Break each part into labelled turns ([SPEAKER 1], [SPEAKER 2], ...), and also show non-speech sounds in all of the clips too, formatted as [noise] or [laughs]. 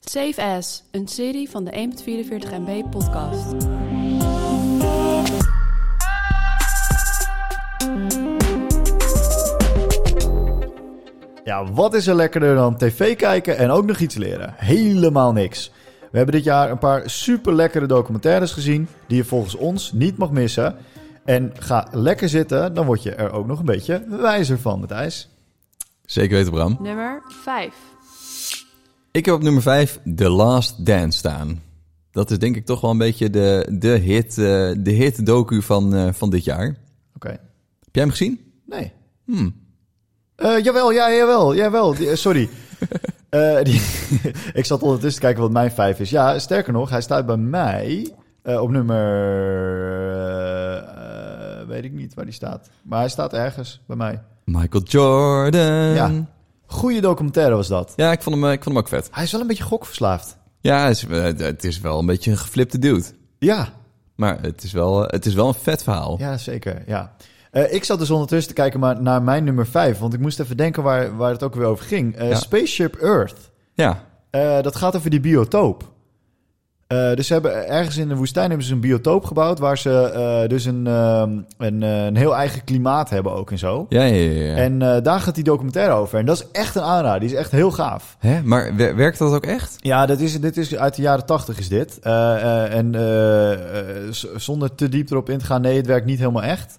[SPEAKER 1] Safe As, een serie van de 1.44 MB podcast.
[SPEAKER 2] Ja, wat is er lekkerder dan tv kijken en ook nog iets leren? Helemaal niks. We hebben dit jaar een paar super lekkere documentaires gezien die je volgens ons niet mag missen. En ga lekker zitten, dan word je er ook nog een beetje wijzer van, Matthijs.
[SPEAKER 3] Zeker weten, Bram.
[SPEAKER 1] Nummer 5.
[SPEAKER 3] Ik heb op nummer 5 The Last Dance staan. Dat is denk ik toch wel een beetje de, de, hit, eh, de hit docu van, eh, van dit jaar.
[SPEAKER 2] Oké.
[SPEAKER 3] Heb jij hem gezien?
[SPEAKER 2] Nee.
[SPEAKER 3] Hmm.
[SPEAKER 2] Eh, jawel, ja, jawel, jawel. Die- eh, sorry. Eh, die- [laughs] ik zat ondertussen te kijken wat mijn vijf is. Ja, sterker nog, hij staat bij mij eh, op nummer... eh, eh, weet ik niet waar die staat. Maar hij staat ergens bij mij.
[SPEAKER 3] Michael Jordan.
[SPEAKER 2] Ja. Goeie documentaire was dat.
[SPEAKER 3] Ja, ik vond hem, eh, ik vond hem ook vet.
[SPEAKER 2] Hij is wel een beetje gokverslaafd.
[SPEAKER 3] Ja, het is, eh, het is wel een beetje een geflipte dude.
[SPEAKER 2] Ja,
[SPEAKER 3] Maar het is wel, eh, het is wel een vet verhaal.
[SPEAKER 2] ja zeker. Ja. Eh, ik zat dus ondertussen te kijken maar naar mijn nummer 5. Want ik moest even denken waar, waar het ook weer over ging. Eh,
[SPEAKER 3] Ja.
[SPEAKER 2] Spaceship Earth.
[SPEAKER 3] Ja.
[SPEAKER 2] Eh, dat gaat over die biotoop. Eh, dus ze hebben ergens in de woestijn hebben ze een biotoop gebouwd. Waar ze eh, dus een, ehm, een, eh, een heel eigen klimaat hebben ook en zo.
[SPEAKER 3] Ja, ja, ja. ja.
[SPEAKER 2] En eh, daar gaat die documentaire over. En dat is echt een aanrader. Die is echt heel gaaf.
[SPEAKER 3] Hè? Maar wer- werkt dat ook echt?
[SPEAKER 2] Ja, dat is, dit is uit de jaren tachtig is dit. Eh, eh, en eh, eh, z- zonder te diep erop in te gaan, nee, het werkt niet helemaal echt.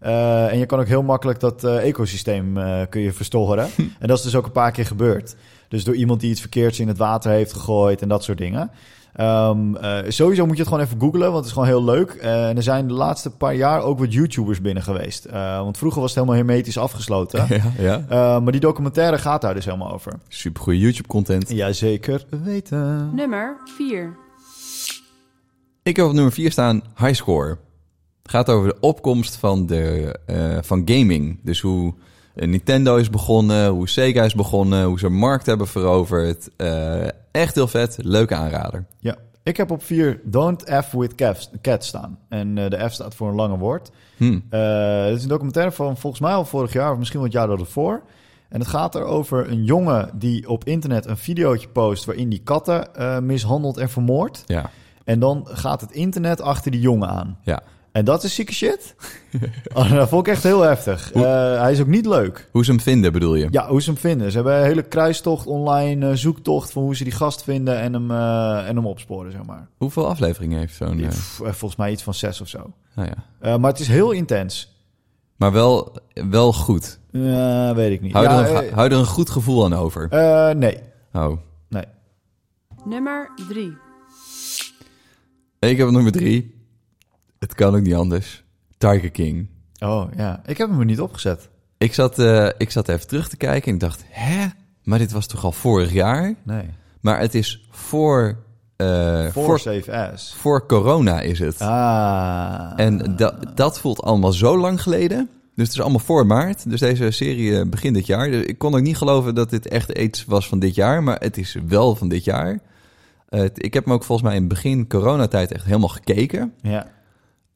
[SPEAKER 2] Eh, en je kan ook heel makkelijk dat eh, ecosysteem eh, kun je [laughs] verstoren. en dat is dus ook een paar keer gebeurd. Dus door iemand die iets verkeerds in het water heeft gegooid en dat soort dingen. Ehm, eh, sowieso moet je het gewoon even googlen, want het is gewoon heel leuk. Eh, en er zijn de laatste paar jaar ook wat YouTubers binnen geweest. Eh, want vroeger was het helemaal hermetisch [laughs] afgesloten.
[SPEAKER 3] [laughs] ja. ja.
[SPEAKER 2] Eh, maar die documentaire gaat daar dus helemaal over.
[SPEAKER 3] Supergoeie YouTube-content.
[SPEAKER 2] Jazeker weten.
[SPEAKER 1] Nummer 4.
[SPEAKER 3] Ik heb op nummer 4 staan Highscore. Het gaat over de opkomst van, de, eh, van gaming. Dus hoe eh, Nintendo is begonnen, hoe Sega is begonnen, hoe ze een markt hebben veroverd. Eh, echt heel vet, leuke aanrader.
[SPEAKER 2] Ja, ik heb op 4 Don't F with Cats, cats staan. En eh, de F staat voor een lange woord.
[SPEAKER 3] Hm.
[SPEAKER 2] Eh het is een documentaire van volgens mij al vorig jaar, of misschien wel het jaar ervoor. En het gaat erover een jongen die op internet een videootje post waarin die katten eh, mishandelt en vermoordt.
[SPEAKER 3] Ja,
[SPEAKER 2] En dan gaat het internet achter die jongen aan.
[SPEAKER 3] ja.
[SPEAKER 2] En dat is zieke shit. oh, dat vond ik echt heel heftig.
[SPEAKER 3] Hoe-
[SPEAKER 2] Eh, hij is ook niet leuk.
[SPEAKER 3] Hoe ze hem vinden bedoel je?
[SPEAKER 2] Ja, hoe ze hem vinden. Ze hebben een hele kruistocht online, eh, zoektocht van hoe ze die gast vinden en hem, eh, en hem opsporen, zeg maar.
[SPEAKER 3] Hoeveel afleveringen heeft zo'n... eh,
[SPEAKER 2] Pff, eh, volgens mij iets van zes of zo.
[SPEAKER 3] nou ja.
[SPEAKER 2] Eh, maar het is heel intens.
[SPEAKER 3] Maar wel, wel goed.
[SPEAKER 2] Eh, weet ik niet.
[SPEAKER 3] Hou,
[SPEAKER 2] Ja,
[SPEAKER 3] er een,
[SPEAKER 2] eh,
[SPEAKER 3] hou er een goed gevoel aan over.
[SPEAKER 2] eh, nee,
[SPEAKER 3] Oh.
[SPEAKER 2] nee.
[SPEAKER 1] Nummer 3.
[SPEAKER 3] Ik heb op nummer 3. Het kan ook niet anders. Tiger King.
[SPEAKER 2] Oh ja, ik heb hem er niet opgezet.
[SPEAKER 3] Ik zat, eh, ik zat even terug te kijken en ik dacht, hè? Maar dit was toch al vorig jaar?
[SPEAKER 2] Nee.
[SPEAKER 3] Maar het is voor, eh,
[SPEAKER 2] Voor
[SPEAKER 3] voor,
[SPEAKER 2] Safe As.
[SPEAKER 3] voor corona is het.
[SPEAKER 2] Ah.
[SPEAKER 3] En da- dat voelt allemaal zo lang geleden. Dus het is allemaal voor maart. Dus deze serie eh, begint dit jaar. Dus ik kon ook niet geloven dat dit echt iets was van dit jaar. Maar het is wel van dit jaar. Eh, het- ik heb hem ook volgens mij in het begin coronatijd echt helemaal gekeken.
[SPEAKER 2] Ja.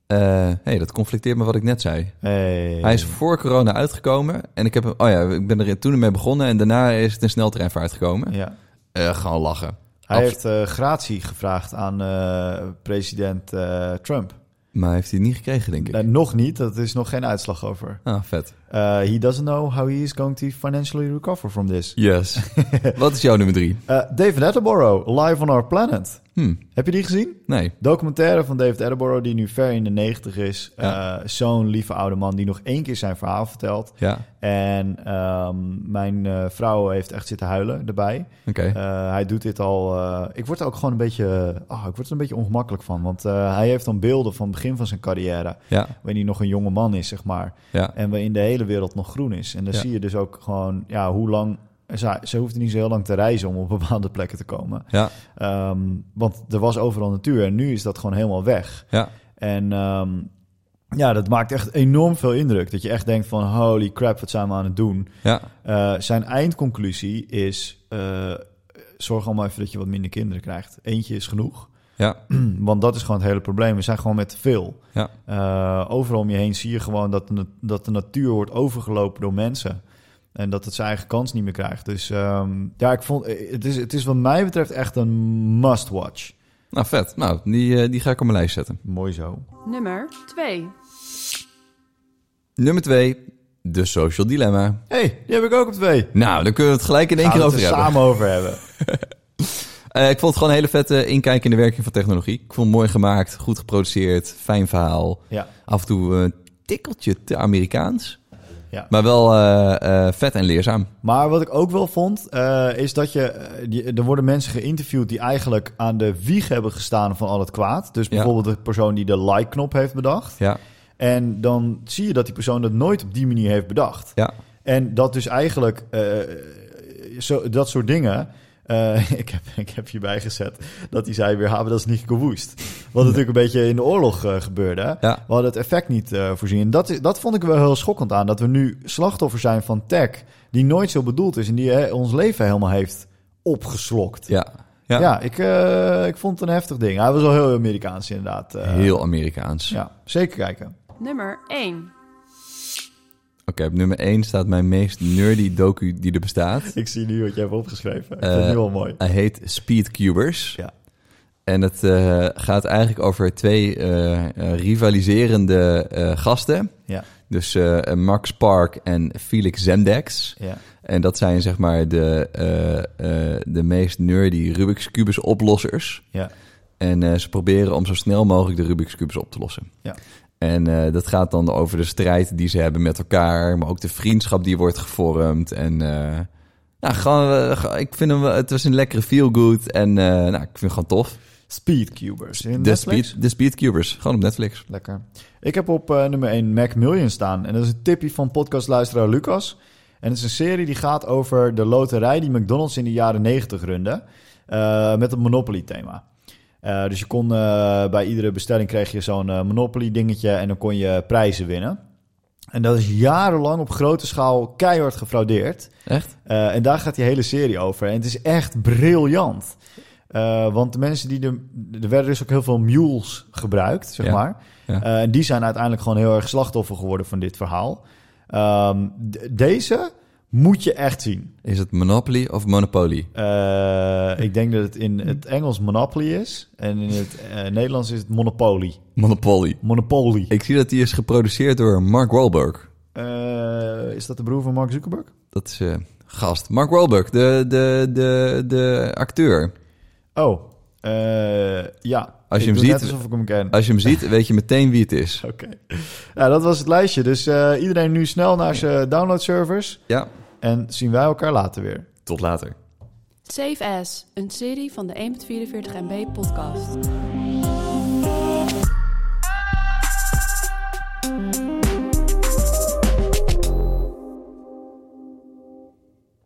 [SPEAKER 3] Eh hey, dat conflicteert met wat ik net zei.
[SPEAKER 2] Hey.
[SPEAKER 3] Hij is voor corona uitgekomen. En ik heb hem, oh ja, ik ben er toen mee begonnen. En daarna is het een sneltreinvaart gekomen.
[SPEAKER 2] Ja.
[SPEAKER 3] Eh, gewoon lachen.
[SPEAKER 2] Hij
[SPEAKER 3] Abs-
[SPEAKER 2] heeft eh, gratie gevraagd aan eh, president eh, Trump.
[SPEAKER 3] Maar heeft hij het niet gekregen, denk ik.
[SPEAKER 2] Nee, nog niet, dat is nog geen uitslag over.
[SPEAKER 3] Ah, vet.
[SPEAKER 2] Uh, he doesn't know how he is going to financially recover from this.
[SPEAKER 3] [laughs] Yes. Wat is jouw nummer drie?
[SPEAKER 2] Uh, David Attenborough, Live on Our Planet.
[SPEAKER 3] Hm,
[SPEAKER 2] Heb je die gezien?
[SPEAKER 3] nee.
[SPEAKER 2] Documentaire van David Attenborough, die nu ver in de 90 is.
[SPEAKER 3] Ja.
[SPEAKER 2] Eh, Zo'n lieve oude man die nog één keer zijn verhaal vertelt.
[SPEAKER 3] Ja,
[SPEAKER 2] En ehm, mijn eh, vrouw heeft echt zitten huilen erbij.
[SPEAKER 3] oké.
[SPEAKER 2] Eh, hij doet dit al. eh, ik word er ook gewoon een beetje. ah, ik word er een beetje ongemakkelijk van. Want eh, hij heeft dan beelden van het begin van zijn carrière.
[SPEAKER 3] ja,
[SPEAKER 2] Wanneer hij nog een jonge man is, zeg maar.
[SPEAKER 3] ja.
[SPEAKER 2] En waarin de hele wereld nog groen is. En dan
[SPEAKER 3] Ja.
[SPEAKER 2] zie je dus ook gewoon ja, hoe lang. Ze, ze hoefde niet zo heel lang te reizen om op bepaalde plekken te komen.
[SPEAKER 3] Ja,
[SPEAKER 2] Ehm, want er was overal natuur en nu is dat gewoon helemaal weg.
[SPEAKER 3] ja,
[SPEAKER 2] En ehm, ja, dat maakt echt enorm veel indruk. Dat je echt denkt van holy crap, wat zijn we aan het doen?
[SPEAKER 3] ja.
[SPEAKER 2] Eh, zijn eindconclusie is... eh, zorg allemaal even dat je wat minder kinderen krijgt. Eentje is genoeg.
[SPEAKER 3] Ja,
[SPEAKER 2] [clears throat] Want dat is gewoon het hele probleem. We zijn gewoon met te veel.
[SPEAKER 3] Ja.
[SPEAKER 2] Eh, overal om je heen zie je gewoon dat de, nat- dat de natuur wordt overgelopen door mensen. En dat het zijn eigen kans niet meer krijgt. Dus ehm, ja, ik vond, eh, het, is, het is wat mij betreft echt een must-watch.
[SPEAKER 3] Nou, vet. Nou, die, eh, die ga ik op mijn lijst zetten.
[SPEAKER 2] Mooi zo.
[SPEAKER 1] Nummer 2.
[SPEAKER 3] Nummer twee, de Social Dilemma.
[SPEAKER 2] Hé, hey, die heb ik ook op twee.
[SPEAKER 3] Nou, dan kunnen we het gelijk in één
[SPEAKER 2] Gaan
[SPEAKER 3] keer
[SPEAKER 2] we
[SPEAKER 3] over
[SPEAKER 2] het er
[SPEAKER 3] hebben.
[SPEAKER 2] samen over hebben.
[SPEAKER 3] Eh, ik vond het gewoon een hele vette inkijk in de werking van technologie. Ik vond het mooi gemaakt, goed geproduceerd, fijn verhaal.
[SPEAKER 2] Ja,
[SPEAKER 3] Af en toe een tikkeltje te Amerikaans.
[SPEAKER 2] ja.
[SPEAKER 3] Maar wel eh, eh, vet en leerzaam.
[SPEAKER 2] Maar wat ik ook wel vond, eh, is dat je, eh, die- er worden mensen geïnterviewd die eigenlijk aan de wieg hebben gestaan van al het kwaad. Dus
[SPEAKER 3] Ja.
[SPEAKER 2] bijvoorbeeld de persoon die de like-knop heeft bedacht.
[SPEAKER 3] Ja,
[SPEAKER 2] En dan zie je dat die persoon dat nooit op die manier heeft bedacht.
[SPEAKER 3] ja.
[SPEAKER 2] En dat dus eigenlijk, eh, zo, dat soort dingen. eh, [laughs] ik, heb, ik heb hierbij gezet dat hij zei weer, hebben dat is niet gewoest. Wat natuurlijk een beetje in de oorlog eh, gebeurde.
[SPEAKER 3] Ja.
[SPEAKER 2] We hadden het effect niet eh, voorzien. En dat, is- dat vond ik wel heel schokkend aan. Dat we nu slachtoffer zijn van tech die nooit zo bedoeld is. En die eh, ons leven helemaal heeft opgeslokt.
[SPEAKER 3] ja.
[SPEAKER 2] Ja,
[SPEAKER 3] ja.
[SPEAKER 2] ik, eh, ik vond het een heftig ding. Hij was wel heel Amerikaans inderdaad. eh.
[SPEAKER 3] Heel Amerikaans.
[SPEAKER 2] Ja, zeker kijken.
[SPEAKER 1] Nummer 1.
[SPEAKER 3] Oké, op nummer 1 staat mijn meest nerdy docu die er bestaat.
[SPEAKER 2] Ik zie nu wat je hebt opgeschreven. Ik
[SPEAKER 3] Eh,
[SPEAKER 2] vind het nu al mooi.
[SPEAKER 3] Hij heet Speedcubers.
[SPEAKER 2] Ja.
[SPEAKER 3] En het eh, gaat eigenlijk over twee eh, eh, rivaliserende eh, gasten.
[SPEAKER 2] Ja,
[SPEAKER 3] Dus eh, Max Park en Felix Zemdex.
[SPEAKER 2] ja.
[SPEAKER 3] En dat zijn zeg maar de, eh, eh, de meest nerdy Rubik's Cubus oplossers.
[SPEAKER 2] Ja.
[SPEAKER 3] En eh, ze proberen om zo snel mogelijk de Rubik's Cubus op te lossen.
[SPEAKER 2] Ja.
[SPEAKER 3] En eh, dat gaat dan over de strijd die ze hebben met elkaar, maar ook de vriendschap die wordt gevormd. En eh, nou, gewoon, eh, ge- ik vind hem, wel- het was een lekkere feel-good en eh, nou, ik vind het gewoon tof.
[SPEAKER 2] Speedcubers. In
[SPEAKER 3] De,
[SPEAKER 2] Netflix?
[SPEAKER 3] speed, de Speedcubers, gewoon op Netflix.
[SPEAKER 2] Lekker. Ik heb op eh, nummer 1 Mac Million staan. En dat is een tipje van podcastluisteraar Lucas. En het is een serie die gaat over de loterij die McDonald's in de jaren 90 runde. eh, met een Monopoly thema. Eh, dus je kon eh, bij iedere bestelling kreeg je zo'n eh, Monopoly dingetje en dan kon je prijzen winnen. En dat is jarenlang op grote schaal keihard gefraudeerd.
[SPEAKER 3] Echt?
[SPEAKER 2] Eh, en daar gaat die hele serie over. En het is echt briljant. Eh, want de mensen die de. Er werden dus ook heel veel mules gebruikt, zeg
[SPEAKER 3] Ja,
[SPEAKER 2] maar.
[SPEAKER 3] ja.
[SPEAKER 2] Eh, en die zijn uiteindelijk gewoon heel erg slachtoffer geworden van dit verhaal. Ehm, d- deze moet je echt zien.
[SPEAKER 3] Is het Monopoly of Monopoly?
[SPEAKER 2] Eh, ik denk dat het in het Engels Monopoly is. En in het eh, Nederlands is het Monopoly.
[SPEAKER 3] Monopoly.
[SPEAKER 2] Monopoly.
[SPEAKER 3] Ik zie dat die is geproduceerd door Mark Wahlberg.
[SPEAKER 2] Eh, is dat de broer van Mark Zuckerberg?
[SPEAKER 3] Dat is eh, gast. Mark Wahlberg, de, de, de, de acteur.
[SPEAKER 2] Oh, eh, ja.
[SPEAKER 3] Als je
[SPEAKER 2] Ik
[SPEAKER 3] hem
[SPEAKER 2] doe net
[SPEAKER 3] ziet-
[SPEAKER 2] alsof ik hem ken.
[SPEAKER 3] Als je hem ziet, weet je meteen wie het is.
[SPEAKER 2] Oké. Nou, dat was het lijstje. Dus eh, iedereen nu snel naar zijn downloadservers.
[SPEAKER 3] Ja,
[SPEAKER 2] En zien wij elkaar later weer.
[SPEAKER 3] tot later.
[SPEAKER 1] Save As, een serie van de 1.44 MB podcast.